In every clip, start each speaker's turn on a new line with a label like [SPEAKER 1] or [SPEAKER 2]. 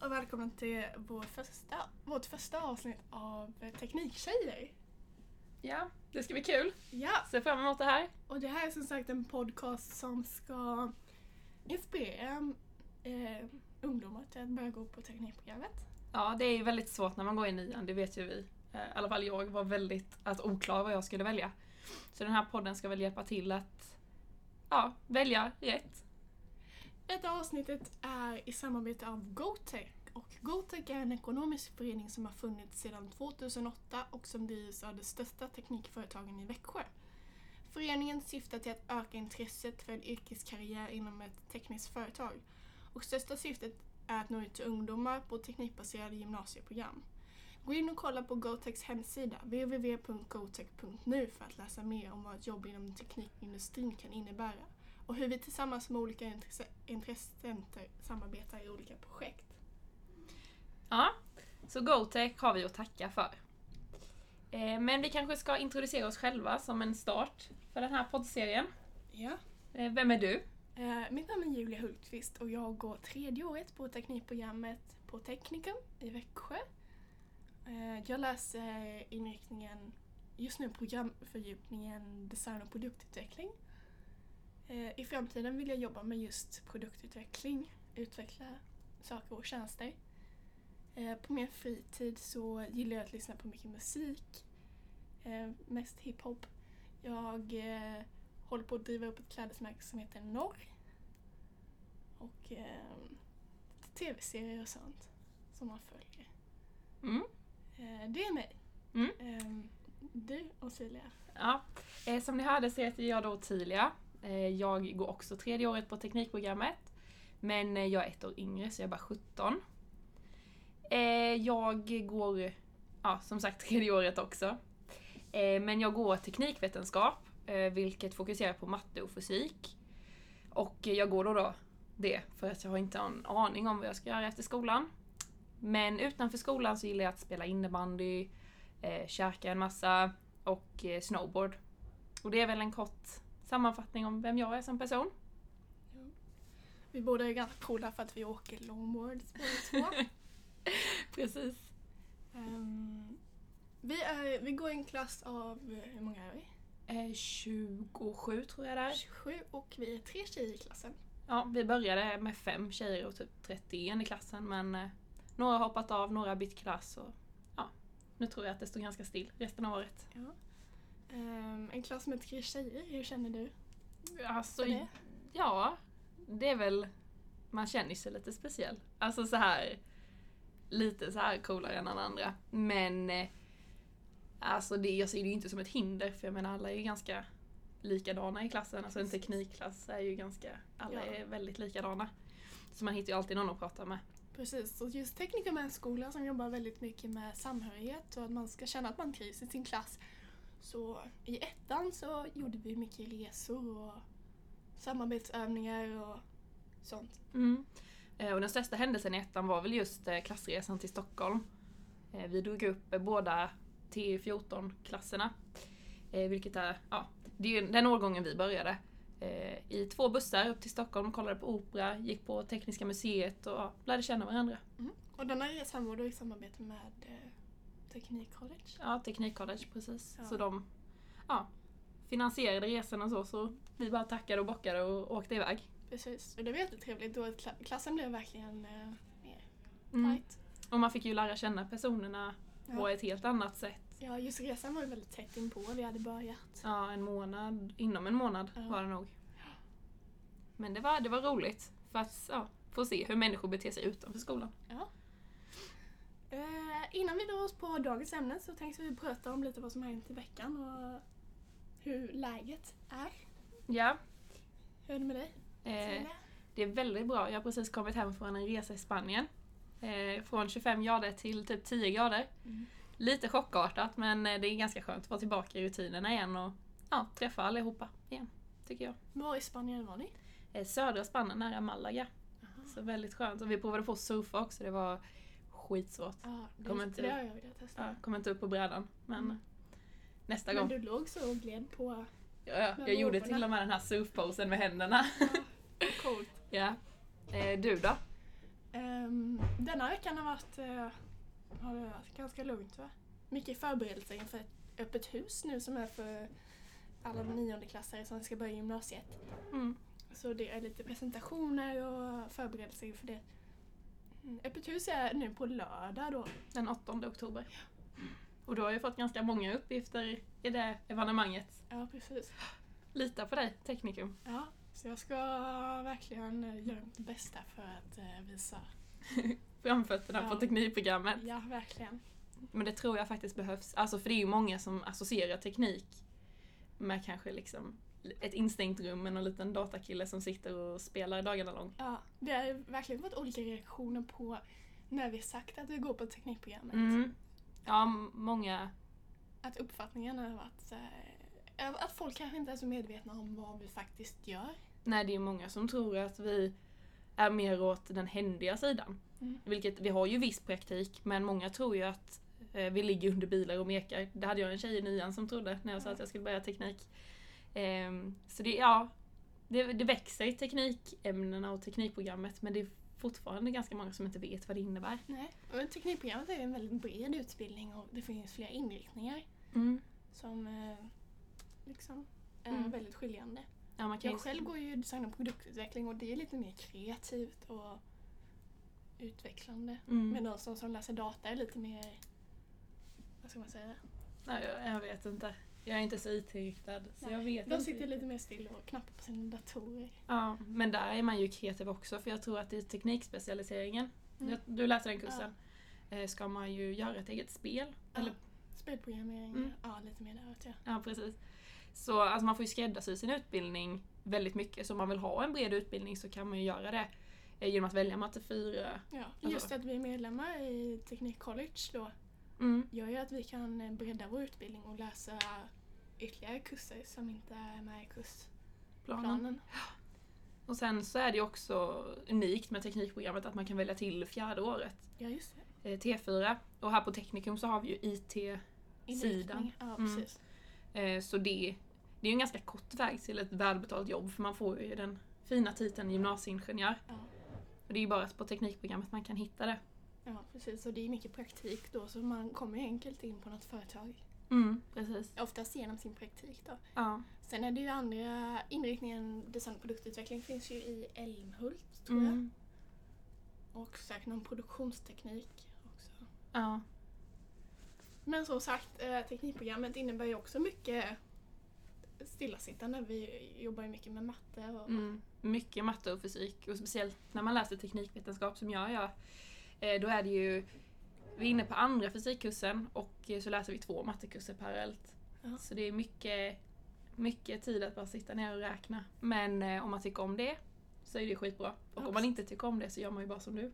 [SPEAKER 1] och välkomna till vår första, vårt första avsnitt av Tekniktjejer.
[SPEAKER 2] Ja, det ska bli kul.
[SPEAKER 1] Ja,
[SPEAKER 2] Se fram emot det här.
[SPEAKER 1] och det här är som sagt en podcast som ska inspirera eh, ungdomar till att börja gå på teknikprogrammet.
[SPEAKER 2] Ja, det är ju väldigt svårt när man går i nian, det vet ju vi. Eh, I alla fall jag var väldigt alltså, oklar vad jag skulle välja. Så den här podden ska väl hjälpa till att ja, välja rätt.
[SPEAKER 1] Detta avsnittet är i samarbete av GoTech. Och GoTech är en ekonomisk förening som har funnits sedan 2008 och som drivs av de största teknikföretagen i Växjö. Föreningen syftar till att öka intresset för en yrkeskarriär inom ett tekniskt företag. Och största syftet är att nå ut till ungdomar på teknikbaserade gymnasieprogram. Gå in och kolla på GoTechs hemsida, www.gotech.nu, för att läsa mer om vad ett jobb inom teknikindustrin kan innebära och hur vi tillsammans med olika intresse- intressenter samarbetar i olika projekt.
[SPEAKER 2] Ja, så GoTech har vi att tacka för. Eh, Men vi kanske ska introducera oss själva som en start för den här poddserien.
[SPEAKER 1] Ja.
[SPEAKER 2] Eh, Vem är du?
[SPEAKER 1] Eh, mitt namn är Julia Hultqvist och jag går tredje året på teknikprogrammet på Teknikum i Växjö. Eh, jag läser inriktningen, just nu programfördjupningen design och produktutveckling. Eh, I framtiden vill jag jobba med just produktutveckling, utveckla saker och tjänster. Eh, på min fritid så gillar jag att lyssna på mycket musik, eh, mest hiphop. Jag eh, håller på att driva upp ett klädesmärke som heter Norr. Och ehm, tv-serier och sånt som man följer.
[SPEAKER 2] Mm.
[SPEAKER 1] Eh, det är mig.
[SPEAKER 2] Mm.
[SPEAKER 1] Ehm, du och Silja.
[SPEAKER 2] Ja. Eh, som ni hörde så heter jag då Tilia. Eh, jag går också tredje året på teknikprogrammet. Men eh, jag är ett år yngre så jag är bara 17. Eh, jag går, ja som sagt tredje året också. Eh, men jag går teknikvetenskap, eh, vilket fokuserar på matte och fysik. Och eh, jag går då, då det för att jag har inte en aning om vad jag ska göra efter skolan. Men utanför skolan så gillar jag att spela innebandy, eh, käka en massa, och eh, snowboard. Och det är väl en kort sammanfattning om vem jag är som person.
[SPEAKER 1] Vi båda är ganska coola för att vi åker longboards båda två.
[SPEAKER 2] Precis.
[SPEAKER 1] Ehm, vi, är, vi går i en klass av, eh, hur många är vi?
[SPEAKER 2] Eh, 27 tror jag det är.
[SPEAKER 1] 27 och vi är tre tjejer i klassen.
[SPEAKER 2] Ja, vi började med fem tjejer och typ 31 i klassen men eh, några har hoppat av, några har bytt klass och ja, nu tror jag att det står ganska still resten av året.
[SPEAKER 1] Ehm, en klass med tre tjejer, hur känner du?
[SPEAKER 2] Alltså,
[SPEAKER 1] För det?
[SPEAKER 2] ja, det är väl, man känner sig lite speciell. Alltså så här lite så här coolare än alla andra. Men eh, alltså det, jag ser det ju inte som ett hinder för jag menar alla är ju ganska likadana i klassen. Alltså en
[SPEAKER 1] Precis.
[SPEAKER 2] teknikklass är ju ganska, alla
[SPEAKER 1] Ja.
[SPEAKER 2] är väldigt likadana. Så man hittar ju alltid någon att prata med.
[SPEAKER 1] Precis, och just Teknikum är en skola som jobbar väldigt mycket med samhörighet och att man ska känna att man trivs i sin klass. Så i ettan så gjorde vi mycket resor och samarbetsövningar och sånt.
[SPEAKER 2] Eh, Och den största händelsen i ettan var väl just eh, klassresan till Stockholm. Eh, Vi drog upp eh, båda T14-klasserna. eh, Vilket är, ja, det är ju den årgången vi började. Eh, I två bussar upp till Stockholm, kollade på opera, gick på Tekniska museet och ja, lärde känna varandra.
[SPEAKER 1] Och den här resan var då i samarbete med eh, Teknikcollege.
[SPEAKER 2] Ja, Teknikcollege precis.
[SPEAKER 1] Ja.
[SPEAKER 2] Så de ja, finansierade resorna och så, så vi bara tackade och bockade och åkte iväg.
[SPEAKER 1] Precis, och det var jättetrevligt då att kla- klassen blev verkligen eh, mer
[SPEAKER 2] Mm.
[SPEAKER 1] tight.
[SPEAKER 2] Och man fick ju lära känna personerna på
[SPEAKER 1] Ja.
[SPEAKER 2] ett helt annat sätt
[SPEAKER 1] ja, just resan var ju väldigt tätt inpå, vi hade börjat.
[SPEAKER 2] Ja, en månad. Inom en månad
[SPEAKER 1] Ja.
[SPEAKER 2] var det nog. Men det var, det var roligt. För att ja, få se hur människor beter sig utanför skolan.
[SPEAKER 1] Eh, innan vi drar oss på dagens ämne så tänkte vi prata om lite vad som har hänt i veckan och hur läget är.
[SPEAKER 2] Ja,
[SPEAKER 1] Hur är det med dig?
[SPEAKER 2] eh,
[SPEAKER 1] Silja?
[SPEAKER 2] det är väldigt bra. Jag har precis kommit hem från en resa i Spanien. Eh, från 25 grader till typ 10 grader.
[SPEAKER 1] Mm.
[SPEAKER 2] Lite chockartat men eh, det är ganska skönt att vara tillbaka i rutinerna igen och ja, träffa allihopa igen. Tycker jag.
[SPEAKER 1] Var i Spanien var ni?
[SPEAKER 2] Eh, södra Spanien nära Malaga. Så väldigt skönt. Och vi provade på att surfa också. Det var skitsvårt.
[SPEAKER 1] Ja, det,
[SPEAKER 2] Kommer inte-
[SPEAKER 1] det har jag velat testa.
[SPEAKER 2] Ja, kom inte upp på brädan. Men
[SPEAKER 1] Mm.
[SPEAKER 2] nästa
[SPEAKER 1] Men
[SPEAKER 2] gång.
[SPEAKER 1] du låg så och gled på.
[SPEAKER 2] Ja, ja,
[SPEAKER 1] Men
[SPEAKER 2] jag gjorde
[SPEAKER 1] vågorna.
[SPEAKER 2] till och med den här surfposen med händerna.
[SPEAKER 1] Ja, coolt.
[SPEAKER 2] ja. eh, du då?
[SPEAKER 1] Ehm, denna veckan har varit, eh, har det varit ganska lugnt va? Mycket förberedelser inför ett öppet hus nu som är för alla niondeklassare som ska börja gymnasiet.
[SPEAKER 2] Mm.
[SPEAKER 1] Så det är lite presentationer och förberedelser inför det. Mm, Öppet hus är nu på lördag då.
[SPEAKER 2] Den 8 oktober. Mm. Och du har ju fått ganska många uppgifter i det evenemanget.
[SPEAKER 1] Ja, precis.
[SPEAKER 2] Lita på dig, Teknikum.
[SPEAKER 1] Ja, så jag ska verkligen eh, göra mitt bästa för att eh, visa.
[SPEAKER 2] Framfötterna på
[SPEAKER 1] Ja.
[SPEAKER 2] teknikprogrammet.
[SPEAKER 1] Ja, verkligen.
[SPEAKER 2] Men det tror jag faktiskt behövs. Alltså för det är ju många som associerar teknik med kanske liksom ett instängt rum med någon liten datakille som sitter och spelar dagarna lång.
[SPEAKER 1] Ja, det har verkligen varit olika reaktioner på när vi sagt att vi går på teknikprogrammet.
[SPEAKER 2] Mm. Ja, m- många.
[SPEAKER 1] Att uppfattningen har varit så här, eh, att folk kanske inte är så medvetna om vad vi faktiskt gör.
[SPEAKER 2] Nej, det är många som tror att vi är mer åt den händiga sidan.
[SPEAKER 1] Mm.
[SPEAKER 2] Vilket, vi har ju viss praktik, men många tror ju att eh, vi ligger under bilar och mekar. Det hade jag en tjej i nian som trodde när jag sa
[SPEAKER 1] Ja.
[SPEAKER 2] att jag skulle börja teknik. Ehm, så det, ja, det, det växer i teknikämnena och teknikprogrammet, men det är fortfarande ganska många som inte vet vad det innebär.
[SPEAKER 1] Nej. Men teknikprogrammet är ju en väldigt bred utbildning och det finns flera inriktningar som eh, liksom är
[SPEAKER 2] Mm.
[SPEAKER 1] väldigt skiljande.
[SPEAKER 2] Ja, man kan
[SPEAKER 1] Jag
[SPEAKER 2] ju-
[SPEAKER 1] själv går ju design och produktutveckling och det är lite mer kreativt och utvecklande.
[SPEAKER 2] Mm.
[SPEAKER 1] Men de som, som läser data är lite mer, vad ska man säga,
[SPEAKER 2] Nej, jag, jag vet inte. Jag är inte så IT-riktad. Så
[SPEAKER 1] Nej,
[SPEAKER 2] jag vet
[SPEAKER 1] de
[SPEAKER 2] inte
[SPEAKER 1] sitter
[SPEAKER 2] riktigt.
[SPEAKER 1] lite mer still och knappar på sina datorer.
[SPEAKER 2] Ja, men där är man ju kreativ också för jag tror att i teknikspecialiseringen,
[SPEAKER 1] Mm.
[SPEAKER 2] jag- du läser den kursen, eh, ska man ju göra ett eget spel. Eller,
[SPEAKER 1] Ja, spelprogrammering,
[SPEAKER 2] Mm.
[SPEAKER 1] ja lite mer där vet jag.
[SPEAKER 2] ja, precis. Så alltså, man får ju skräddarsy sin utbildning väldigt mycket. Så om man vill ha en bred utbildning så kan man ju göra det eh, genom att välja matte 4.
[SPEAKER 1] Ja,
[SPEAKER 2] Alltså-
[SPEAKER 1] just att vi är medlemmar i Teknikcollege då
[SPEAKER 2] Mm.
[SPEAKER 1] gör ju att vi kan eh, bredda vår utbildning och läsa ytterligare kurser som inte är med i kursplanen.
[SPEAKER 2] Planen. Och sen så är det ju också unikt med teknikprogrammet att man kan välja till fjärde året,
[SPEAKER 1] Ja, just det.
[SPEAKER 2] eh, T4. Och här på Teknikum så har vi ju IT
[SPEAKER 1] Inriktning. Ja,
[SPEAKER 2] Mm.
[SPEAKER 1] precis.
[SPEAKER 2] Eh, Så det, det är ju en ganska kort väg till ett välbetalt jobb för man får ju den fina titeln gymnasieingenjör.
[SPEAKER 1] Ja.
[SPEAKER 2] Och det är ju bara på teknikprogrammet man kan hitta det.
[SPEAKER 1] Ja, precis. Och det är mycket praktik då så man kommer ju enkelt in på något företag.
[SPEAKER 2] Mm, precis.
[SPEAKER 1] Oftast genom sin praktik då.
[SPEAKER 2] Ja.
[SPEAKER 1] Sen är det ju andra inriktningen, design och produktutveckling finns ju i Älmhult tror
[SPEAKER 2] Mm.
[SPEAKER 1] jag. Och säkert någon produktionsteknik också.
[SPEAKER 2] ja.
[SPEAKER 1] Men som sagt, eh, teknikprogrammet innebär ju också mycket stillasittande. Vi jobbar ju mycket med matte och
[SPEAKER 2] Mm. Mycket matte och fysik och speciellt när man läser teknikvetenskap som jag gör. eh, Då är det ju, vi är inne på andra fysikkursen och eh, så läser vi två mattekurser parallellt.
[SPEAKER 1] Ja.
[SPEAKER 2] Så det är mycket, mycket tid att bara sitta ner och räkna. Men eh, om man tycker om det så är det skitbra. Och om man inte tycker om det så gör man ju bara som du.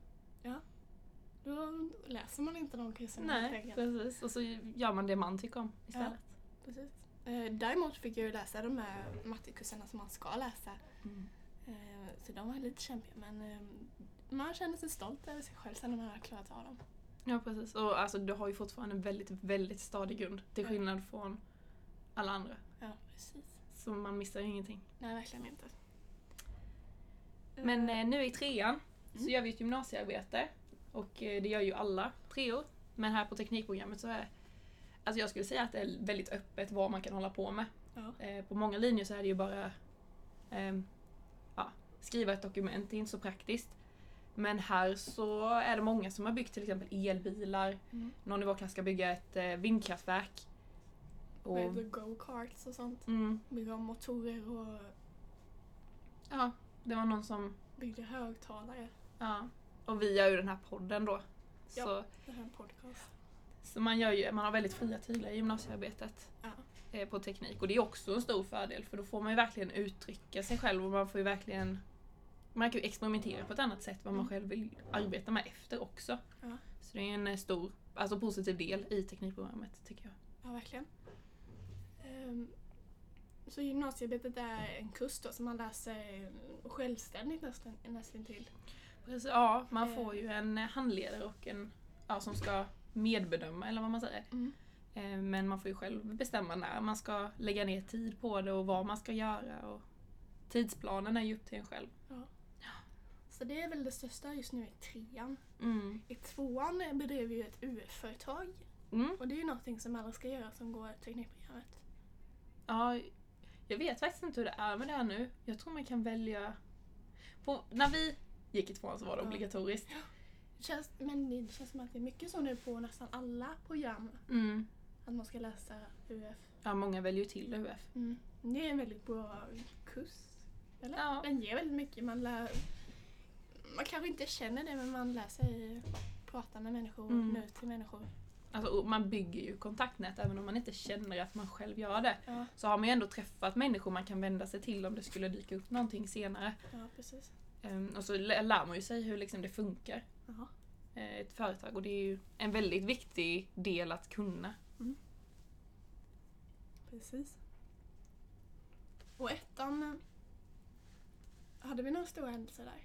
[SPEAKER 1] då läser man inte de kurserna helt
[SPEAKER 2] Nej,
[SPEAKER 1] enkelt.
[SPEAKER 2] precis. Och så gör man det man tycker om istället.
[SPEAKER 1] Precis. Eh, Däremot fick jag ju läsa de här mattekurserna som man ska läsa.
[SPEAKER 2] Mm.
[SPEAKER 1] Eh, Så de var lite kämpiga men eh, man känner sig stolt över sig själv sen när man har klarat av dem.
[SPEAKER 2] Ja, precis. Och alltså, du har ju fortfarande en väldigt, väldigt stadig grund. Till
[SPEAKER 1] Ja.
[SPEAKER 2] skillnad från alla andra.
[SPEAKER 1] Ja, precis.
[SPEAKER 2] Så man missar ju ingenting.
[SPEAKER 1] Nej, verkligen inte.
[SPEAKER 2] Men
[SPEAKER 1] Eh,
[SPEAKER 2] eh, nu i trean så
[SPEAKER 1] Mm.
[SPEAKER 2] gör vi ett gymnasiearbete. Och eh, det gör ju alla treor. Men här på teknikprogrammet så är Alltså jag skulle säga att det är väldigt öppet vad man kan hålla på med.
[SPEAKER 1] ja.
[SPEAKER 2] Eh, på många linjer så är det ju bara ehm, ja, skriva ett dokument, det är inte så praktiskt. Men här så är det många som har byggt till exempel elbilar,
[SPEAKER 1] Mm.
[SPEAKER 2] någon i vår klass ska bygga ett eh, vindkraftverk. Och,
[SPEAKER 1] Vad heter det? Go-karts och sånt.
[SPEAKER 2] mm,
[SPEAKER 1] Byggde om motorer och
[SPEAKER 2] ja, det var någon som...
[SPEAKER 1] byggde högtalare.
[SPEAKER 2] Ja. Och vi gör ju den här podden då.
[SPEAKER 1] Ja.
[SPEAKER 2] Så,
[SPEAKER 1] Det här är en podcast.
[SPEAKER 2] så man, gör ju, man har väldigt fria tyglar i gymnasiearbetet
[SPEAKER 1] Ja.
[SPEAKER 2] eh, på teknik. Och det är också en stor fördel för då får man ju verkligen uttrycka sig själv och man får ju verkligen man kan ju experimentera på ett annat sätt vad man
[SPEAKER 1] Mm.
[SPEAKER 2] själv vill arbeta med efter också.
[SPEAKER 1] Ja.
[SPEAKER 2] Så det är en eh, stor, alltså positiv del i teknikprogrammet tycker jag.
[SPEAKER 1] Ja, verkligen. Ehm, så gymnasiearbetet är en kurs då som man läser eh, självständigt nästan, nästan till.
[SPEAKER 2] Precis, ja, man
[SPEAKER 1] Eh.
[SPEAKER 2] får ju en eh, handledare och en ja, som ska medbedöma eller vad man säger. Eh, Men man får ju själv bestämma när man ska lägga ner tid på det och vad man ska göra. Och tidsplanen är ju upp till en själv.
[SPEAKER 1] Så det är väl det största just nu i trean.
[SPEAKER 2] Mm.
[SPEAKER 1] I tvåan eh, bedrev vi ju ett UF-företag
[SPEAKER 2] Mm.
[SPEAKER 1] och det är ju någonting som alla ska göra som går teknikprogrammet.
[SPEAKER 2] Ja, jag vet faktiskt inte hur det är med det här nu. Jag tror man kan välja... På, när vi gick i tvåan så var det
[SPEAKER 1] Ja.
[SPEAKER 2] obligatoriskt.
[SPEAKER 1] Det känns, men det känns som att det är mycket så nu på nästan alla program
[SPEAKER 2] Mm.
[SPEAKER 1] att man ska läsa UF.
[SPEAKER 2] Ja, många väljer ju till UF.
[SPEAKER 1] Mm. Det är en väldigt bra kurs. Eller?
[SPEAKER 2] Ja.
[SPEAKER 1] Den ger väldigt mycket. Man lär... Man kanske inte känner det men man lär sig prata med människor och
[SPEAKER 2] Mm.
[SPEAKER 1] nå ut till människor.
[SPEAKER 2] Alltså, och man bygger ju kontaktnät även om man inte känner att man själv gör det.
[SPEAKER 1] Ja,
[SPEAKER 2] Så har man ju ändå träffat människor man kan vända sig till om det skulle dyka upp någonting senare.
[SPEAKER 1] ja precis.
[SPEAKER 2] Ehm, och så lä- lär man ju sig hur liksom det funkar,
[SPEAKER 1] Jaha.
[SPEAKER 2] eh, ett företag. Och det är ju en väldigt viktig del att kunna.
[SPEAKER 1] Precis. Och ettan... eh, Hade vi några stora händelser där?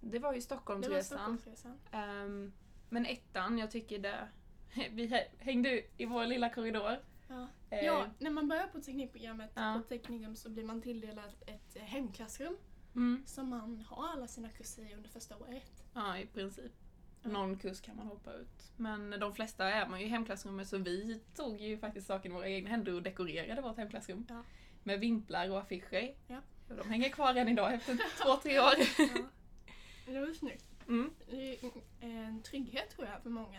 [SPEAKER 2] Det var ju
[SPEAKER 1] Det var
[SPEAKER 2] Stockholmsresan.
[SPEAKER 1] Stockholmsresan.
[SPEAKER 2] Ehm, men ettan, jag tycker det... Vi hä- hängde i vår lilla korridor.
[SPEAKER 1] Ja.
[SPEAKER 2] Eh,
[SPEAKER 1] ja, när man börjar på teknikprogrammet
[SPEAKER 2] Ja.
[SPEAKER 1] på Teknikum så blir man tilldelad ett eh, hemklassrum
[SPEAKER 2] Mm.
[SPEAKER 1] som man har alla sina kurser i under första året.
[SPEAKER 2] Ja, i princip.
[SPEAKER 1] Ja.
[SPEAKER 2] Någon kurs kan man hoppa ut. Men de flesta är man ju i hemklassrummet så vi tog ju faktiskt saken i våra egna händer och dekorerade vårt hemklassrum.
[SPEAKER 1] Ja.
[SPEAKER 2] Med vimplar och affischer.
[SPEAKER 1] Ja.
[SPEAKER 2] Och de hänger kvar än idag efter två, tre år.
[SPEAKER 1] Ja. Det var ju snyggt.
[SPEAKER 2] Mm.
[SPEAKER 1] Det är en trygghet tror jag för många.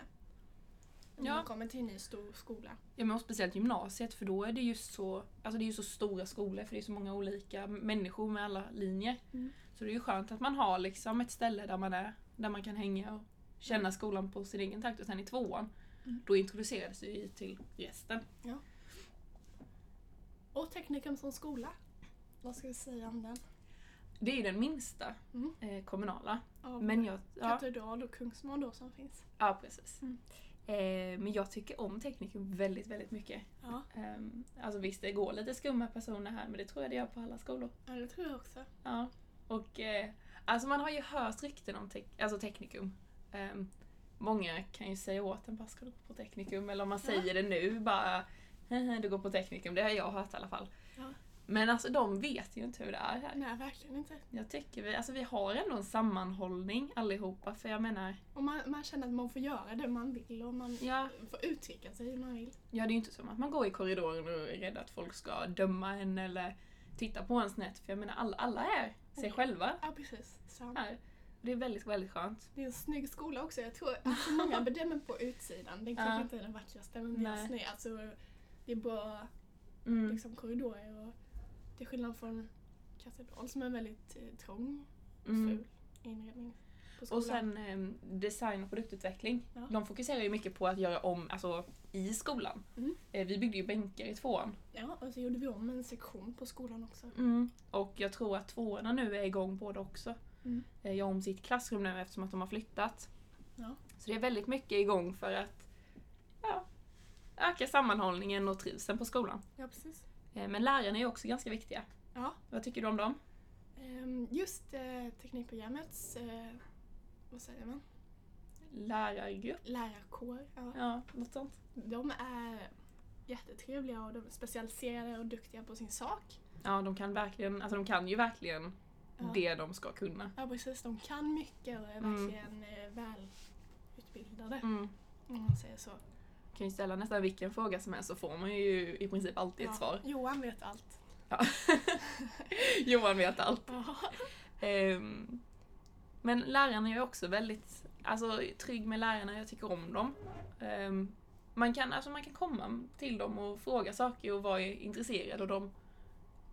[SPEAKER 1] När
[SPEAKER 2] Ja.
[SPEAKER 1] man kommer till en ny stor skola.
[SPEAKER 2] Ja, men och speciellt gymnasiet för då är det ju så, alltså det är ju så stora skolor för det är så många olika människor med alla linjer.
[SPEAKER 1] Mm.
[SPEAKER 2] Så det är ju skönt att man har liksom ett ställe där man är, där man kan hänga och känna skolan på sin egen takt. Och sen i tvåan,
[SPEAKER 1] Mm.
[SPEAKER 2] då introducerades vi till resten.
[SPEAKER 1] Och Teknikum som skola. Vad ska vi säga om den?
[SPEAKER 2] Det är ju den minsta
[SPEAKER 1] Mm.
[SPEAKER 2] eh, kommunala.
[SPEAKER 1] Av
[SPEAKER 2] Men jag, ja,
[SPEAKER 1] katedral och Kungsmar då som finns.
[SPEAKER 2] ja, precis.
[SPEAKER 1] Mm.
[SPEAKER 2] Eh, men jag tycker om teknikum väldigt, väldigt mycket.
[SPEAKER 1] Ja,
[SPEAKER 2] Ehm, alltså visst, det går lite skumma personer här men det tror jag det gör på alla skolor.
[SPEAKER 1] ja, det tror jag också.
[SPEAKER 2] Ja. Och eh, alltså man har ju hört rykten om tek- alltså teknikum. Ehm, många kan ju säga åt en bara ska du gå på teknikum eller om man
[SPEAKER 1] Ja.
[SPEAKER 2] säger det nu bara "Hehe, du går på teknikum, det har jag hört i alla fall.
[SPEAKER 1] Ja.
[SPEAKER 2] Men alltså de vet ju inte hur det är här.
[SPEAKER 1] Nej, verkligen inte.
[SPEAKER 2] Jag tycker vi, alltså vi har ändå en sammanhållning allihopa för jag menar,
[SPEAKER 1] Och man, man känner att man får göra det man vill och man
[SPEAKER 2] ja,
[SPEAKER 1] får uttrycka sig hur man vill.
[SPEAKER 2] ja det är ju inte som att man går i korridoren och är rädd att folk ska döma en eller titta på en snett för jag menar alla, alla är sig
[SPEAKER 1] Mm.
[SPEAKER 2] själva
[SPEAKER 1] Ja, precis. Sant.
[SPEAKER 2] här. Det är väldigt, väldigt skönt.
[SPEAKER 1] Det är en snygg skola också. Jag tror att många bedömer på utsidan. Den kanske
[SPEAKER 2] Ja.
[SPEAKER 1] inte är den vackraste men den är
[SPEAKER 2] Nej.
[SPEAKER 1] snygg. Alltså, det är bra
[SPEAKER 2] Mm.
[SPEAKER 1] liksom, korridorer och till skillnad från katedral som är en väldigt eh, trång och
[SPEAKER 2] Mm.
[SPEAKER 1] ful inredning på skolan.
[SPEAKER 2] Och sen ehm, design och produktutveckling.
[SPEAKER 1] Ja.
[SPEAKER 2] De fokuserar ju mycket på att göra om alltså, i skolan.
[SPEAKER 1] Mm.
[SPEAKER 2] Eh, vi byggde ju bänkar i tvåan.
[SPEAKER 1] Ja, och så gjorde vi om en sektion på skolan också.
[SPEAKER 2] Och jag tror att tvåorna nu är igång båda också.
[SPEAKER 1] Mm.
[SPEAKER 2] Eh, gör om sitt klassrum nu eftersom att de har flyttat.
[SPEAKER 1] Ja.
[SPEAKER 2] Så det är väldigt mycket igång för att ja, öka sammanhållningen och trivseln på skolan.
[SPEAKER 1] Ja, precis.
[SPEAKER 2] Eh, men lärarna är ju också ganska viktiga.
[SPEAKER 1] Ja.
[SPEAKER 2] Vad tycker du om dem?
[SPEAKER 1] Ehm, Just eh, teknikprogrammets, eh, vad säger man,
[SPEAKER 2] Lärargrupp?
[SPEAKER 1] lärarkår. Ja.
[SPEAKER 2] Ja, något sånt.
[SPEAKER 1] De är jättetrevliga och de är specialiserade och duktiga på sin sak.
[SPEAKER 2] Ja, de kan, verkligen, alltså, de kan ju verkligen
[SPEAKER 1] Ja.
[SPEAKER 2] det de ska kunna.
[SPEAKER 1] Ja precis, de kan mycket och är
[SPEAKER 2] Mm.
[SPEAKER 1] verkligen eh, välutbildade
[SPEAKER 2] Mm.
[SPEAKER 1] om man säger så.
[SPEAKER 2] kan ju ställa nästan vilken fråga som helst så får man ju i princip alltid
[SPEAKER 1] Ja,
[SPEAKER 2] ett svar.
[SPEAKER 1] Johan vet allt.
[SPEAKER 2] Ja. Johan vet allt.
[SPEAKER 1] Ja,
[SPEAKER 2] Ehm, men lärarna är ju också väldigt alltså, trygg med lärarna, jag tycker om dem. Ehm, man, kan, alltså, man kan komma till dem och fråga saker och vara intresserad och de,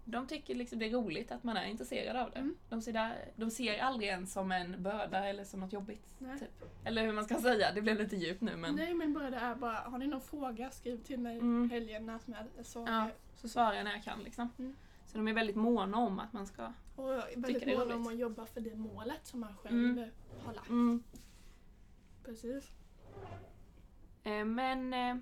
[SPEAKER 2] de tycker liksom det är roligt att man är intresserad av det.
[SPEAKER 1] Mm.
[SPEAKER 2] De, ser där, de ser aldrig en som en börda eller som något jobbigt.
[SPEAKER 1] Nej.
[SPEAKER 2] Typ. Eller hur man ska säga, det blev lite djupt nu men
[SPEAKER 1] Nej men bara det är bara, har ni någon fråga skriv till mig
[SPEAKER 2] Mm.
[SPEAKER 1] helgen när som helst. Så,
[SPEAKER 2] Ja, så svarar jag när jag kan liksom.
[SPEAKER 1] Mm.
[SPEAKER 2] Så de är väldigt måna om att man ska...
[SPEAKER 1] Och jag är
[SPEAKER 2] Tycker det
[SPEAKER 1] väldigt
[SPEAKER 2] är
[SPEAKER 1] mån om
[SPEAKER 2] roligt.
[SPEAKER 1] att jobba för det målet som man själv eh,
[SPEAKER 2] Mm.
[SPEAKER 1] har lagt. Precis.
[SPEAKER 2] Eh, men eh,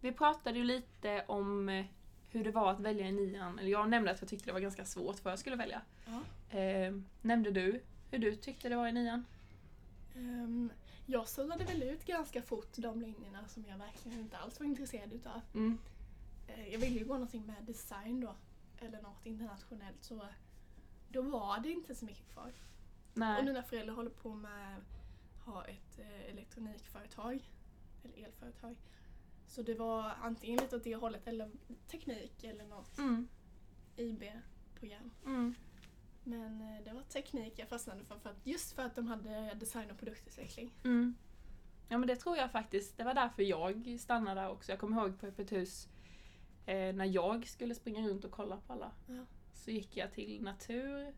[SPEAKER 2] vi pratade ju lite om eh, hur det var att välja i nian. Eller jag nämnde att jag tyckte det var ganska svårt vad jag skulle välja.
[SPEAKER 1] Ja.
[SPEAKER 2] Eh, nämnde du hur du tyckte det var i nian?
[SPEAKER 1] Ehm, jag sållade väl ut ganska fort de linjerna som jag verkligen inte alls var intresserad utav.
[SPEAKER 2] Mm.
[SPEAKER 1] Eh, Jag ville ju gå någonting med design då, eller något internationellt så då var det inte så mycket kvar. Och
[SPEAKER 2] Nej.
[SPEAKER 1] mina föräldrar håller på med att ha ett eh, elektronikföretag, eller elföretag. Så det var antingen lite åt det hållet eller teknik eller något
[SPEAKER 2] Mm,
[SPEAKER 1] IB-program.
[SPEAKER 2] mm,
[SPEAKER 1] Men eh, det var teknik jag fastnade för, för att, just för att de hade design och produktutveckling.
[SPEAKER 2] mm. Ja men det tror jag faktiskt, det var därför jag stannade där också. Jag kommer ihåg på Öppet hus eh, när jag skulle springa runt och kolla på alla.
[SPEAKER 1] Ja.
[SPEAKER 2] Så gick jag till natur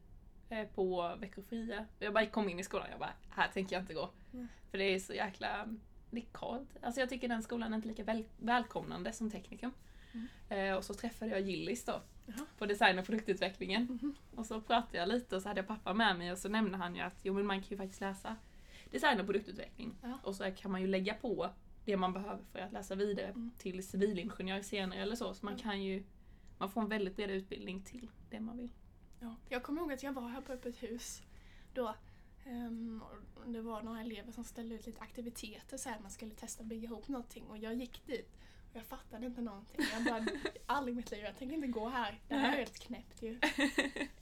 [SPEAKER 2] eh, på veckofria. Jag bara kom in i skolan jag bara, här tänker jag inte gå.
[SPEAKER 1] Nej.
[SPEAKER 2] För det är så jäkla, det är kallt. Alltså jag tycker den skolan är inte lika väl, välkomnande som teknikum.
[SPEAKER 1] Mm.
[SPEAKER 2] Eh, och så träffade jag Gillis då.
[SPEAKER 1] Jaha.
[SPEAKER 2] på design och produktutvecklingen.
[SPEAKER 1] Mhm.
[SPEAKER 2] Och så pratade jag lite och så hade jag pappa med mig och så nämnde han ju att jo, men man kan ju faktiskt läsa design och produktutveckling.
[SPEAKER 1] Ja.
[SPEAKER 2] Och så kan man ju lägga på det man behöver för att läsa vidare
[SPEAKER 1] Mm.
[SPEAKER 2] till civilingenjör senare eller så. Så man
[SPEAKER 1] Ja.
[SPEAKER 2] kan ju man får en väldigt bred utbildning till det man vill.
[SPEAKER 1] Ja. Jag kommer ihåg att jag var här på öppet hus då. Ehm, och det var några elever som ställde ut lite aktiviteter så här, man skulle testa att bygga ihop någonting och jag gick dit och jag fattade inte någonting. Jag bara, aldrig i mitt liv, jag tänker inte gå här. Det här är
[SPEAKER 2] Nej.
[SPEAKER 1] helt knäppt ju.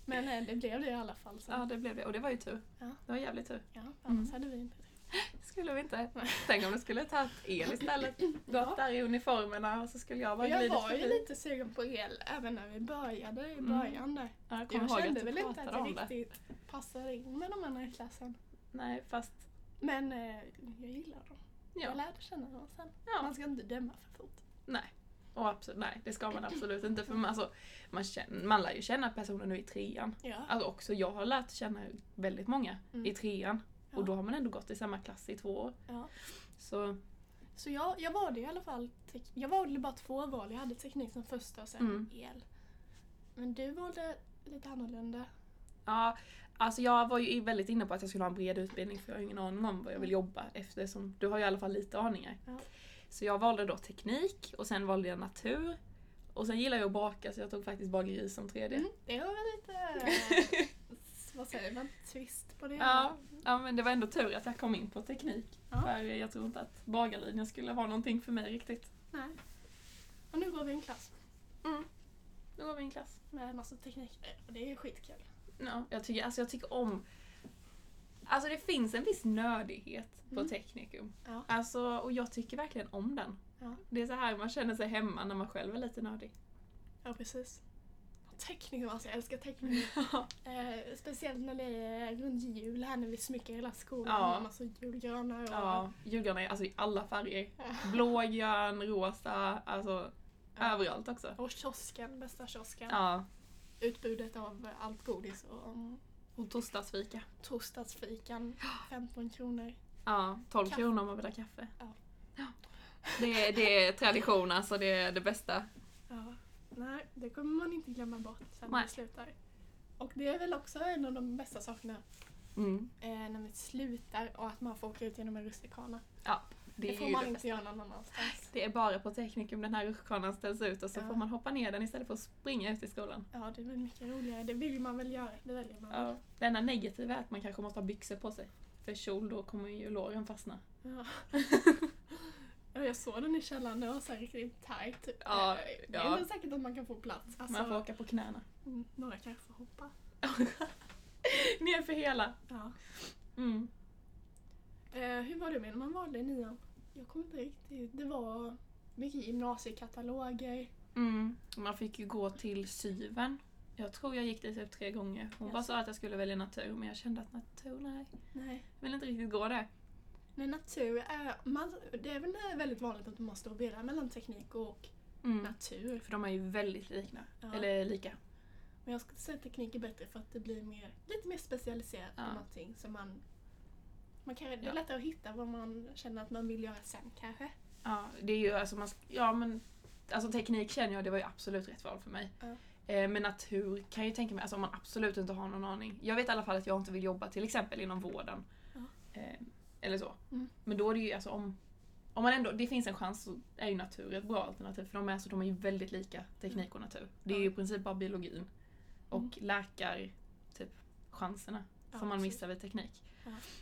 [SPEAKER 1] Men eh, det blev det i alla fall. Så.
[SPEAKER 2] ja, det blev det. Och det var ju tur.
[SPEAKER 1] Ja.
[SPEAKER 2] Det var jävligt tur.
[SPEAKER 1] Ja, annars hade vi inte det.
[SPEAKER 2] skulle vi inte.
[SPEAKER 1] Nej.
[SPEAKER 2] Tänk om du skulle tagit el istället. Gått där i uniformerna och så skulle jag
[SPEAKER 1] Och
[SPEAKER 2] vara
[SPEAKER 1] jag
[SPEAKER 2] glidit
[SPEAKER 1] var ju
[SPEAKER 2] förbi.
[SPEAKER 1] lite sugen på el även när vi började i
[SPEAKER 2] Mm.
[SPEAKER 1] början där.
[SPEAKER 2] Ja, jag kommer
[SPEAKER 1] Jag
[SPEAKER 2] ihåg att
[SPEAKER 1] kände
[SPEAKER 2] du
[SPEAKER 1] väl inte
[SPEAKER 2] pratade
[SPEAKER 1] att jag
[SPEAKER 2] om det.
[SPEAKER 1] riktigt passade in med de andra i klassen.
[SPEAKER 2] Nej, fast
[SPEAKER 1] Men eh, jag gillar dem. Jag
[SPEAKER 2] ja.
[SPEAKER 1] lärde känna dem sen.
[SPEAKER 2] ja.
[SPEAKER 1] Man ska inte döma för fort.
[SPEAKER 2] Och absolut, nej, det ska man absolut inte. För man, alltså, man, känner, man lär ju känna personer nu i trean.
[SPEAKER 1] Ja.
[SPEAKER 2] Alltså också jag har lärt känna väldigt många
[SPEAKER 1] Mm.
[SPEAKER 2] i trean.
[SPEAKER 1] Ja.
[SPEAKER 2] Och då har man ändå gått i samma klass i två år.
[SPEAKER 1] ja.
[SPEAKER 2] Så,
[SPEAKER 1] Så jag, jag valde i alla fall, tek- jag valde bara två val. Jag hade teknik som första och sen
[SPEAKER 2] Mm.
[SPEAKER 1] el. Men du valde lite annorlunda.
[SPEAKER 2] ja. Alltså jag var ju väldigt inne på att jag skulle ha en bred utbildning för jag har ingen aning om vad jag vill jobba eftersom du har ju i alla fall lite aningar.
[SPEAKER 1] Ja.
[SPEAKER 2] Så jag valde då teknik och sen valde jag natur. Och sen gillar jag att baka så jag tog faktiskt bageri som tredje.
[SPEAKER 1] Mm. Det var väl lite, eh, s- vad säger man, twist på det.
[SPEAKER 2] Ja, ja, men det var ändå tur att jag kom in på teknik.
[SPEAKER 1] Ja.
[SPEAKER 2] För jag tror inte att bagarlinjen skulle vara någonting för mig riktigt.
[SPEAKER 1] Nej. Och nu går vi i en klass Mm.
[SPEAKER 2] Nu går vi i en klass.
[SPEAKER 1] med massa teknik. Eh, Och det är skitkul.
[SPEAKER 2] Ja, jag, tycker, alltså jag tycker om... Alltså det finns en viss nördighet på
[SPEAKER 1] Mm.
[SPEAKER 2] teknikum.
[SPEAKER 1] Ja.
[SPEAKER 2] Alltså, och jag tycker verkligen om den.
[SPEAKER 1] Ja.
[SPEAKER 2] Det är så här man känner sig hemma när man själv är lite nördig.
[SPEAKER 1] Ja, precis. Och Teckning, alltså jag älskar teckning. Eh, speciellt när det är runt jul här när vi smyckar hela skolan
[SPEAKER 2] Ja.
[SPEAKER 1] med massa julgranar och
[SPEAKER 2] ja, julgranar är alltså i alla färger.
[SPEAKER 1] Ja.
[SPEAKER 2] Blå, grön, rosa, alltså
[SPEAKER 1] Ja.
[SPEAKER 2] överallt också.
[SPEAKER 1] Och kiosken, bästa kiosken.
[SPEAKER 2] Ja.
[SPEAKER 1] Utbudet av allt godis och um,
[SPEAKER 2] Och torsdagsfika.
[SPEAKER 1] torsdagsfikan, 15 kronor.
[SPEAKER 2] Ja, 12
[SPEAKER 1] Kaffe.
[SPEAKER 2] kronor om man vill ha kaffe.
[SPEAKER 1] Ja.
[SPEAKER 2] Ja. Det, är, det är tradition alltså, det är det bästa.
[SPEAKER 1] Ja. Nej, det kommer man inte glömma bort sen när
[SPEAKER 2] Nej.
[SPEAKER 1] vi slutar. Och det är väl också en av de bästa sakerna,
[SPEAKER 2] Mm.
[SPEAKER 1] eh, när vi slutar och att man får åka ut genom en rutschkana.
[SPEAKER 2] Ja, det,
[SPEAKER 1] Det,
[SPEAKER 2] är
[SPEAKER 1] får
[SPEAKER 2] ju
[SPEAKER 1] man
[SPEAKER 2] det
[SPEAKER 1] inte
[SPEAKER 2] bästa.
[SPEAKER 1] göra någon annanstans.
[SPEAKER 2] Det är bara på Teknikum den här rutschkanan ställs ut och så
[SPEAKER 1] Ja.
[SPEAKER 2] får man hoppa ner den istället för att springa ut i skolan.
[SPEAKER 1] Ja, det är väl mycket roligare. Det vill man väl göra, det väljer man väl.
[SPEAKER 2] Ja. Det enda negativa är att man kanske måste ha byxor på sig. För kjol, då kommer ju låren fastna.
[SPEAKER 1] Ja. Ja, jag såg den i källaren, den var så här riktigt tight.
[SPEAKER 2] Ja,
[SPEAKER 1] Eh, Det är
[SPEAKER 2] ja.
[SPEAKER 1] inte säkert att man kan få plats. Alltså,
[SPEAKER 2] Man får åka på knäna.
[SPEAKER 1] mm, Några kanske får hoppa.
[SPEAKER 2] ner för hela.
[SPEAKER 1] Ja.
[SPEAKER 2] Mm.
[SPEAKER 1] Eh, hur var det med när man valde i nian? Jag kommer inte riktigt. Det var mycket gymnasiekataloger.
[SPEAKER 2] Mm. Man fick ju gå till syven. Jag tror jag gick dit typ tre gånger. Hon bara
[SPEAKER 1] Jaså.
[SPEAKER 2] sa att jag skulle välja natur men jag kände att natur, nej.
[SPEAKER 1] Nej.
[SPEAKER 2] Jag vill inte riktigt gå där.
[SPEAKER 1] Men natur är, man, det är väl eh, väldigt vanligt att man står och virrar mellan teknik och
[SPEAKER 2] Mm.
[SPEAKER 1] natur.
[SPEAKER 2] För de är ju väldigt likna.
[SPEAKER 1] Ja.
[SPEAKER 2] Eller lika.
[SPEAKER 1] Men jag skulle säga att teknik är bättre för att det blir mer, lite mer specialiserat på
[SPEAKER 2] Ja.
[SPEAKER 1] någonting. Så man, man kan, det
[SPEAKER 2] Ja.
[SPEAKER 1] är lättare att hitta vad man känner att man vill göra sen kanske.
[SPEAKER 2] Ja, det är ju alltså man, sk- ja men alltså teknik känner jag, det var ju absolut rätt val för mig.
[SPEAKER 1] Ja.
[SPEAKER 2] Eh, men natur kan jag ju tänka mig, alltså om man absolut inte har någon aning. Jag vet i alla fall att jag inte vill jobba till exempel inom vården.
[SPEAKER 1] Ja.
[SPEAKER 2] Eh, eller så.
[SPEAKER 1] Mm.
[SPEAKER 2] Men då är det ju alltså om, om man ändå, det finns en chans så är ju natur ett bra alternativ för de är, så de är ju väldigt lika teknik och natur. Det är ju i
[SPEAKER 1] Ja.
[SPEAKER 2] princip bara biologin och
[SPEAKER 1] Mm.
[SPEAKER 2] läkar typ chanserna
[SPEAKER 1] Ja,
[SPEAKER 2] som man
[SPEAKER 1] precis.
[SPEAKER 2] missar vid teknik.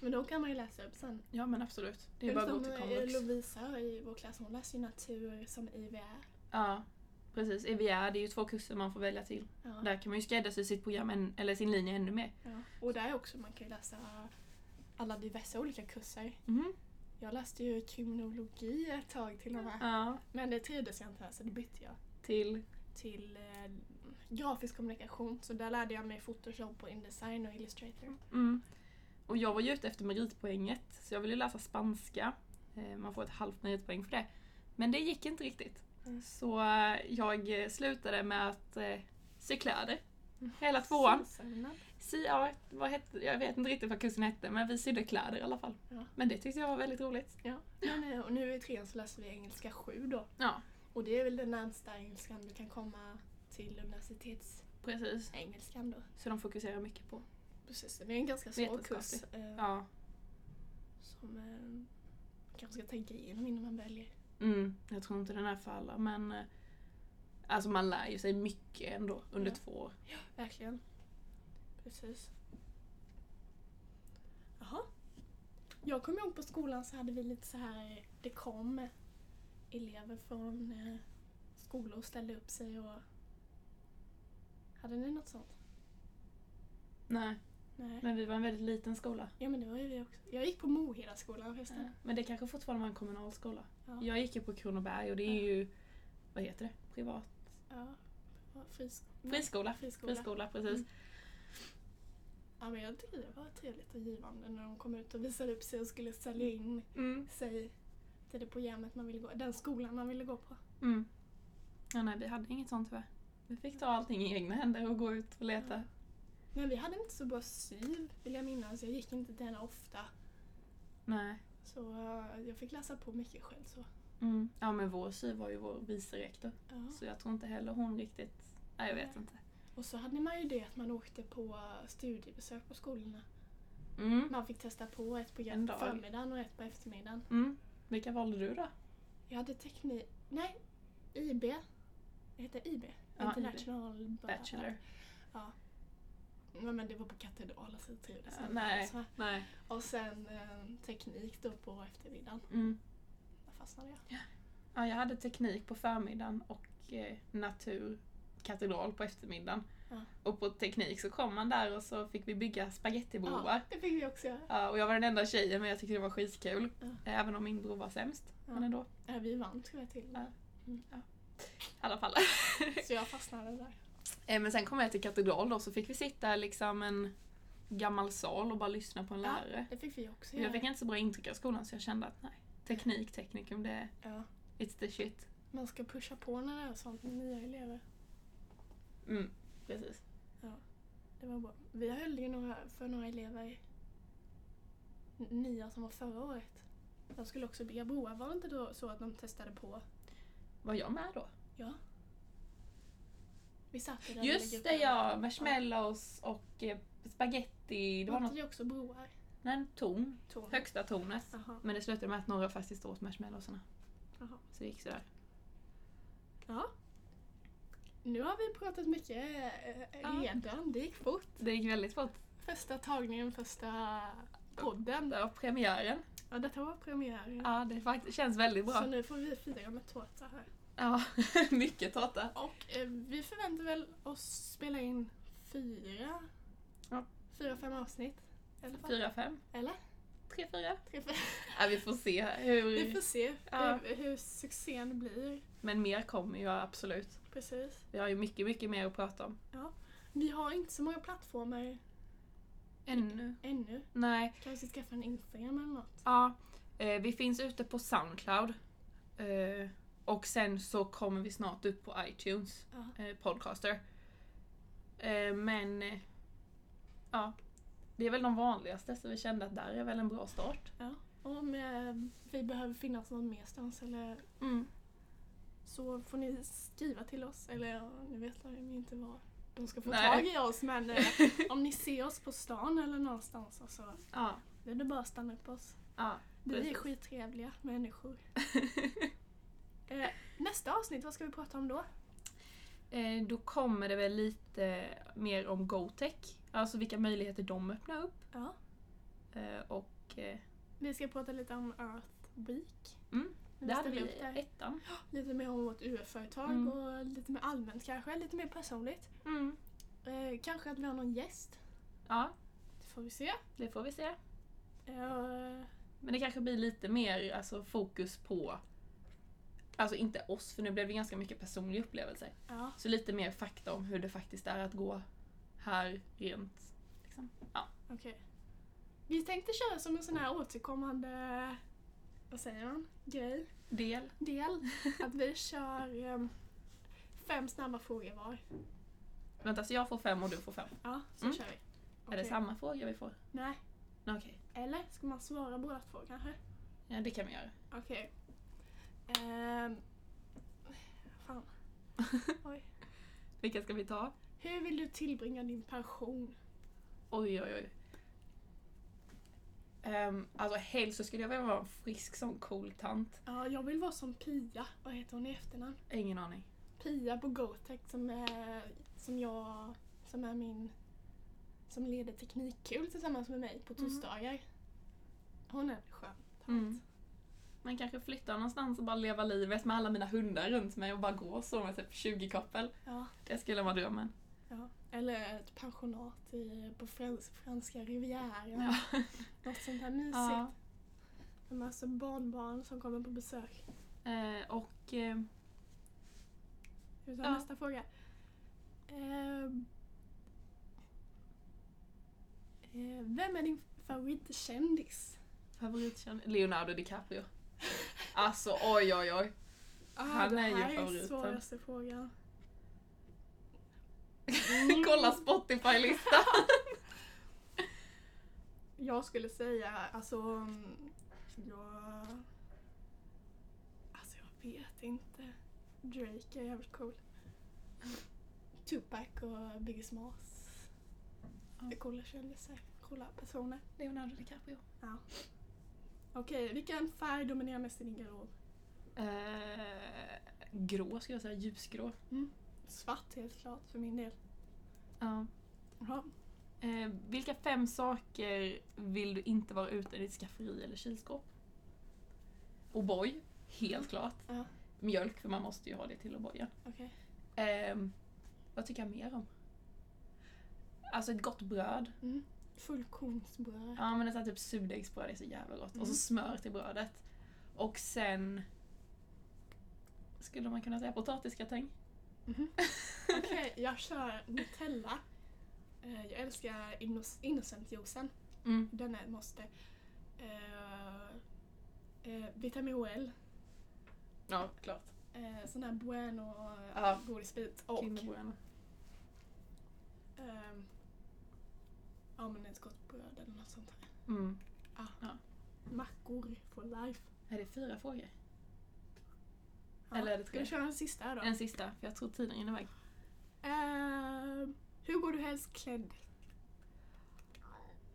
[SPEAKER 1] Men då kan man ju läsa upp sen.
[SPEAKER 2] Ja men absolut. Det eh, är
[SPEAKER 1] Det
[SPEAKER 2] ju bara att gå
[SPEAKER 1] som
[SPEAKER 2] till
[SPEAKER 1] eh,
[SPEAKER 2] komvux.
[SPEAKER 1] Lovisa i vår klass, hon läser ju natur som IVR.
[SPEAKER 2] Ja. Precis, EVR det är ju två kurser man får välja till.
[SPEAKER 1] Ja.
[SPEAKER 2] Där kan man ju skräddarsy sitt program, än- eller sin linje ännu mer.
[SPEAKER 1] Ja. Och där också, man kan ju läsa alla diverse olika kurser.
[SPEAKER 2] Mhm.
[SPEAKER 1] Jag läste ju kriminologi ett tag till och med.
[SPEAKER 2] Ja,
[SPEAKER 1] Men det trivdes jag inte här så det bytte jag
[SPEAKER 2] till...
[SPEAKER 1] till eh, grafisk kommunikation. Så där lärde jag mig Photoshop och Indesign och Illustrator.
[SPEAKER 2] Mm. Och jag var ju ute efter meritpoänget, så jag ville läsa spanska. Eh, Man får ett halvt meritpoäng för det. Men det gick inte riktigt.
[SPEAKER 1] Mm.
[SPEAKER 2] Så eh, jag eh, slutade med att eh, sy kläder.
[SPEAKER 1] Mm.
[SPEAKER 2] Hela tvåan.
[SPEAKER 1] Sömnad.
[SPEAKER 2] Sy, ja, vad hette, jag vet inte riktigt vad kursen hette, men vi sydde kläder i alla fall.
[SPEAKER 1] Ja.
[SPEAKER 2] Men det tyckte jag var väldigt roligt.
[SPEAKER 1] Ja. Men, eh, och nu i trean så läser vi engelska 7 då.
[SPEAKER 2] Ja,
[SPEAKER 1] Och det är väl den närmsta engelskan du kan komma till universitetsengelskan
[SPEAKER 2] precis.
[SPEAKER 1] då.
[SPEAKER 2] Så de fokuserar mycket på.
[SPEAKER 1] Precis, det är en ganska svår kurs.
[SPEAKER 2] Vetenskaplig.
[SPEAKER 1] Eh,
[SPEAKER 2] Ja.
[SPEAKER 1] Som eh, man kanske ska tänka igenom innan man väljer.
[SPEAKER 2] Mm, jag tror inte den är för alla, men eh, alltså man lär ju sig mycket ändå under
[SPEAKER 1] Ja.
[SPEAKER 2] två år.
[SPEAKER 1] Verkligen. Precis. Jaha. Jag kommer ihåg på skolan så hade vi lite så här, det kom elever från eh, skolor och ställde upp sig och... Hade ni något sånt?
[SPEAKER 2] Nej,
[SPEAKER 1] Nej.
[SPEAKER 2] men vi var en väldigt liten skola. Eh,
[SPEAKER 1] Ja men det var ju vi också. Jag gick på Mohedaskolan förresten.
[SPEAKER 2] Men det kanske fortfarande var en kommunal skola.
[SPEAKER 1] Ja.
[SPEAKER 2] Jag gick ju på Kronoberg och det är
[SPEAKER 1] Ja.
[SPEAKER 2] ju, vad heter det, privat?
[SPEAKER 1] Ja. ja. Fris-
[SPEAKER 2] Friskola.
[SPEAKER 1] friskola.
[SPEAKER 2] Mm. Friskola, precis.
[SPEAKER 1] Mm. Ja men jag tyckte det var trevligt och givande när de kom ut och visade upp sig och skulle sälja in
[SPEAKER 2] Mm.
[SPEAKER 1] sig till det programmet man ville gå, den skolan man ville gå på.
[SPEAKER 2] Mm. Ja, nej, vi hade inget sånt tyvärr. Vi fick ta allting i egna händer och gå ut och leta.
[SPEAKER 1] Men vi hade inte så bra syv vill jag minnas. Jag gick inte till henne ofta.
[SPEAKER 2] Nej.
[SPEAKER 1] Så eh, jag fick läsa på mycket själv. Så.
[SPEAKER 2] Mm. Ja, men vår sy var ju vår vice rektor.
[SPEAKER 1] Ja.
[SPEAKER 2] Så jag tror inte heller hon riktigt... Nej, jag vet inte.
[SPEAKER 1] Och så hade man ju det att man åkte på eh, studiebesök på skolorna.
[SPEAKER 2] Mm.
[SPEAKER 1] Man fick testa på ett
[SPEAKER 2] En
[SPEAKER 1] program på
[SPEAKER 2] dag.
[SPEAKER 1] förmiddagen och ett på eftermiddagen.
[SPEAKER 2] Mm. Vilka valde du då?
[SPEAKER 1] Jag hade teknik... Nej, IB. Det heter IB.
[SPEAKER 2] Ja,
[SPEAKER 1] International IB.
[SPEAKER 2] Bachelor?
[SPEAKER 1] Ja, men det var på katedral så det trivdes
[SPEAKER 2] Ja,
[SPEAKER 1] jag.
[SPEAKER 2] nej.
[SPEAKER 1] Så här.
[SPEAKER 2] Nej.
[SPEAKER 1] Och sen eh, teknik då på eftermiddagen.
[SPEAKER 2] Mm.
[SPEAKER 1] Där fastnade jag.
[SPEAKER 2] Ja, jag hade teknik på förmiddagen och eh, natur, katedral på eftermiddagen.
[SPEAKER 1] Ja.
[SPEAKER 2] Och på teknik så kom man där och så fick vi bygga spagettibroar.
[SPEAKER 1] Ja, det fick vi också göra.
[SPEAKER 2] Ja, och jag var den enda tjejen men jag tyckte det var skitkul. Eh,
[SPEAKER 1] Ja.
[SPEAKER 2] Även om min bror var sämst.
[SPEAKER 1] Ja.
[SPEAKER 2] Men ändå.
[SPEAKER 1] Ja, vi vann tror jag till.
[SPEAKER 2] Ja. I alla fall.
[SPEAKER 1] Så jag fastnade där.
[SPEAKER 2] Eh, men sen kom jag till katedral då så fick vi sitta liksom en gammal sal och bara lyssna på en
[SPEAKER 1] Ja.
[SPEAKER 2] lärare.
[SPEAKER 1] Det fick vi också
[SPEAKER 2] Och
[SPEAKER 1] göra.
[SPEAKER 2] jag fick inte så bra intryck av skolan så jag kände att nej, teknik, teknikum, det
[SPEAKER 1] ja.
[SPEAKER 2] it's the shit.
[SPEAKER 1] Man ska pusha på när det är sånt med nya elever.
[SPEAKER 2] Mm, precis.
[SPEAKER 1] Det var bra. Vi höll ju några, för några elever n- nya som var förra året. De skulle också bygga broar. Var det inte då så att de testade på?
[SPEAKER 2] Var jag med då?
[SPEAKER 1] Ja. Vi satt i den lilla
[SPEAKER 2] Just det
[SPEAKER 1] gruppen.
[SPEAKER 2] ja, marshmallows och eh, spaghetti. Det var
[SPEAKER 1] Var
[SPEAKER 2] något,
[SPEAKER 1] inte det också broar?
[SPEAKER 2] nej, en ton.
[SPEAKER 1] Torn.
[SPEAKER 2] Högsta tornet.
[SPEAKER 1] Jaha.
[SPEAKER 2] Men det slutade med att några faktiskt åt marshmallowsarna.
[SPEAKER 1] Jaha.
[SPEAKER 2] Så det gick sådär.
[SPEAKER 1] Ja. Nu har vi pratat mycket eh,
[SPEAKER 2] Ja.
[SPEAKER 1] redan. Det gick fort.
[SPEAKER 2] Det gick väldigt fort.
[SPEAKER 1] Första tagningen, första podden.
[SPEAKER 2] Ja, premiären.
[SPEAKER 1] Ja, detta var premiären.
[SPEAKER 2] Ja, det fakt- känns väldigt
[SPEAKER 1] Mm. Så
[SPEAKER 2] bra.
[SPEAKER 1] nu får vi fira med tårta här.
[SPEAKER 2] Ja, mycket tårta.
[SPEAKER 1] Och eh, vi förväntar väl oss spela in fyra,
[SPEAKER 2] Ja.
[SPEAKER 1] fyra fem avsnitt. i alla fall.
[SPEAKER 2] Fyra, fem,
[SPEAKER 1] Eller?
[SPEAKER 2] tre, fyra.
[SPEAKER 1] Tre, fem.
[SPEAKER 2] Ja, vi får se
[SPEAKER 1] Vi får
[SPEAKER 2] hur...
[SPEAKER 1] se
[SPEAKER 2] Ja.
[SPEAKER 1] hur, hur succén blir.
[SPEAKER 2] Men mer kommer ju absolut.
[SPEAKER 1] Precis.
[SPEAKER 2] Vi har ju mycket, mycket mer att prata om.
[SPEAKER 1] Vi har inte så många plattformar
[SPEAKER 2] Ännu?
[SPEAKER 1] ännu.
[SPEAKER 2] Nej.
[SPEAKER 1] Kanske skaffa en Instagram eller något.
[SPEAKER 2] Ja, eh, vi finns ute på Soundcloud. Eh, och sen så kommer vi snart upp på iTunes
[SPEAKER 1] Ja.
[SPEAKER 2] eh, Podcaster. Eh, men... Eh, ja. Det är väl de vanligaste så vi kände att där är väl en bra start.
[SPEAKER 1] Om eh, vi behöver finnas någon merstans eller så får ni skriva till oss. Eller ja, nu vet jag ju inte var de ska få
[SPEAKER 2] Nej.
[SPEAKER 1] tag i oss men eh, om ni ser oss på stan eller någonstans alltså,
[SPEAKER 2] ja.
[SPEAKER 1] det är det bara att stanna upp oss.
[SPEAKER 2] ja.
[SPEAKER 1] Vi är
[SPEAKER 2] Precis.
[SPEAKER 1] skittrevliga människor. Eh, nästa avsnitt, vad ska vi prata om då?
[SPEAKER 2] Eh, då kommer det väl lite mer om GoTech. Alltså vilka möjligheter de öppnar upp.
[SPEAKER 1] Ja.
[SPEAKER 2] Eh, och eh,
[SPEAKER 1] Vi ska prata lite om Earth Week.
[SPEAKER 2] Mm.
[SPEAKER 1] när
[SPEAKER 2] Det hade
[SPEAKER 1] ställde
[SPEAKER 2] vi
[SPEAKER 1] upp där.
[SPEAKER 2] i ettan.
[SPEAKER 1] Lite mer om vårt UF-företag
[SPEAKER 2] Mm.
[SPEAKER 1] och lite mer allmänt kanske, lite mer personligt.
[SPEAKER 2] Mm.
[SPEAKER 1] Eh, kanske att vi har någon gäst,
[SPEAKER 2] Ja,
[SPEAKER 1] det får vi se.
[SPEAKER 2] det får vi se.
[SPEAKER 1] Eh,
[SPEAKER 2] Men det kanske blir lite mer alltså, fokus på Alltså inte oss, för nu blev det ganska mycket personliga upplevelser.
[SPEAKER 1] ja.
[SPEAKER 2] Så lite mer fakta om hur det faktiskt är att gå här rent. Liksom.
[SPEAKER 1] Okej. Vi tänkte köra som en sån här återkommande, vad säger man, grej,
[SPEAKER 2] Del.
[SPEAKER 1] del. Att vi kör ehm, fem snabba frågor var.
[SPEAKER 2] Vänta, så jag får fem och du får fem.
[SPEAKER 1] Ja, så
[SPEAKER 2] Mm.
[SPEAKER 1] kör vi.
[SPEAKER 2] Är
[SPEAKER 1] Okej.
[SPEAKER 2] det samma fråga vi får?
[SPEAKER 1] Nej.
[SPEAKER 2] Nej, Okej,
[SPEAKER 1] Eller ska man svara båda två kanske?
[SPEAKER 2] ja, det kan vi göra.
[SPEAKER 1] Okej. Ehm, fan. Oj.
[SPEAKER 2] Vilka ska vi ta?
[SPEAKER 1] Hur vill du tillbringa din pension?
[SPEAKER 2] Oj, oj, oj. Um, alltså helst så skulle jag vilja vara en frisk sån cool tant.
[SPEAKER 1] Ja, jag vill vara som Pia. Vad heter hon i efternamn?
[SPEAKER 2] Ingen aning.
[SPEAKER 1] Pia på Gotec som är, som jag, som är min, som leder Teknikkul tillsammans med mig på torsdagar. Hon är en skön.
[SPEAKER 2] Mm. Men kanske flytta någonstans och bara leva livet med alla mina hundar runt mig och bara gå så med typ 20 koppel.
[SPEAKER 1] Ja.
[SPEAKER 2] Det skulle vara drömmen.
[SPEAKER 1] ja. Eller ett pensionat i, på frans, franska rivieran.
[SPEAKER 2] Ja.
[SPEAKER 1] Något sånt här mysigt.
[SPEAKER 2] Ja.
[SPEAKER 1] Med massa barnbarn som kommer på besök.
[SPEAKER 2] Eh, och eh,
[SPEAKER 1] Ska vi ta
[SPEAKER 2] Ja.
[SPEAKER 1] nästa fråga? Ehm. Eh, vem är din favoritkändis?
[SPEAKER 2] favoritkänd... Leonardo DiCaprio. Alltså oj, oj, oj.
[SPEAKER 1] Ah,
[SPEAKER 2] Han är ju
[SPEAKER 1] Det här är
[SPEAKER 2] favoriten.
[SPEAKER 1] svåraste frågan.
[SPEAKER 2] Kolla Spotify-listan.
[SPEAKER 1] Jag skulle säga, alltså... mm, Jag... Alltså jag vet inte. Drake är jävligt cool. Tupac och Biggie Smalls. Det är coola kändisar, coola personer.
[SPEAKER 2] Leonardo DiCaprio.
[SPEAKER 1] Okej, vilken färg dominerar mest i din garderob?
[SPEAKER 2] Eh, grå skulle jag säga, ljusgrå.
[SPEAKER 1] Svart helt klart för min del.
[SPEAKER 2] Ja.
[SPEAKER 1] Jaha.
[SPEAKER 2] Eh, vilka fem saker vill du inte vara utan i ditt skafferi eller kylskåp? O'boy, helt klart.
[SPEAKER 1] Ja.
[SPEAKER 2] Mjölk, för man måste ju ha det till O'boyen.
[SPEAKER 1] Okej.
[SPEAKER 2] Ehm, vad tycker jag mer om? Alltså ett gott bröd.
[SPEAKER 1] Mm. Fullkornsbröd.
[SPEAKER 2] Ja men nästan typ surdegsbröd är så jävla gott. Och så
[SPEAKER 1] Mm.
[SPEAKER 2] smör till brödet. Och sen skulle man kunna säga potatisgratäng.
[SPEAKER 1] Mhm. Okej, jag kör Nutella. Eh, Jag älskar inno- Innocent-juicen.
[SPEAKER 2] Mm.
[SPEAKER 1] Den är ett måste. Eh, eh, Vitamin OL.
[SPEAKER 2] Ja, klart.
[SPEAKER 1] Eh, sån här Bueno
[SPEAKER 2] Ja.
[SPEAKER 1] godisbit. Och
[SPEAKER 2] Kinderbröd.
[SPEAKER 1] ehm, ja, men ett gott bröd eller något sånt. här.
[SPEAKER 2] Mm.
[SPEAKER 1] Mackor for life.
[SPEAKER 2] Är det fyra frågor?
[SPEAKER 1] Ja.
[SPEAKER 2] Eller är det
[SPEAKER 1] Ska
[SPEAKER 2] tre?
[SPEAKER 1] vi köra en sista här då?
[SPEAKER 2] En sista, för jag tror tiden rinner iväg.
[SPEAKER 1] Ehm, hur går du helst klädd?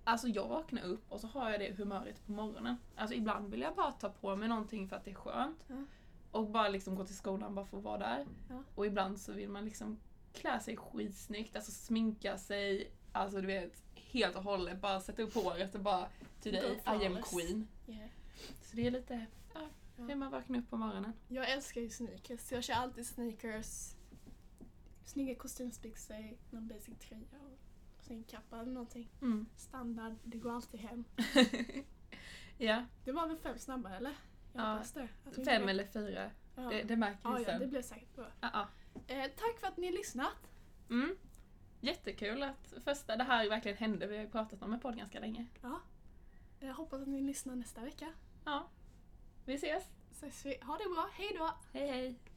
[SPEAKER 2] Alltså jag vaknar upp och så har jag det humöret på morgonen. Alltså ibland vill jag bara ta på mig någonting för att det är skönt.
[SPEAKER 1] Ja.
[SPEAKER 2] Och bara liksom gå till skolan bara för att vara där.
[SPEAKER 1] Ja.
[SPEAKER 2] Och ibland så vill man liksom klä sig skitsnyggt, alltså sminka sig, alltså du vet helt och hållet bara sätta upp håret och bara
[SPEAKER 1] Go
[SPEAKER 2] today I am
[SPEAKER 1] flawless."
[SPEAKER 2] queen. Så det är lite ja, hur
[SPEAKER 1] Ja.
[SPEAKER 2] man vaknar upp på morgonen.
[SPEAKER 1] Jag älskar ju sneakers, så jag kör alltid sneakers. Snygga kostymbyxor, någon basic tröja och snygg kappa eller någonting.
[SPEAKER 2] Mm.
[SPEAKER 1] Standard, det går alltid hem.
[SPEAKER 2] ja,
[SPEAKER 1] Det var väl fem snabba eller? Jag
[SPEAKER 2] Ja,
[SPEAKER 1] hoppas det. Att vi inte
[SPEAKER 2] fem
[SPEAKER 1] blev-
[SPEAKER 2] eller fyra,
[SPEAKER 1] ja.
[SPEAKER 2] det, det märker vi
[SPEAKER 1] Ja, ja,
[SPEAKER 2] sen.
[SPEAKER 1] det blev säkert bra.
[SPEAKER 2] Ja, ja.
[SPEAKER 1] Eh, tack för att ni har lyssnat.
[SPEAKER 2] Mm. Jättekul att första det här verkligen hände. Vi har ju pratat om en podd ganska länge.
[SPEAKER 1] Jag hoppas att ni lyssnar nästa vecka.
[SPEAKER 2] Ja. Vi ses.
[SPEAKER 1] Ses vi. Ha det bra, hejdå!
[SPEAKER 2] Hej hej.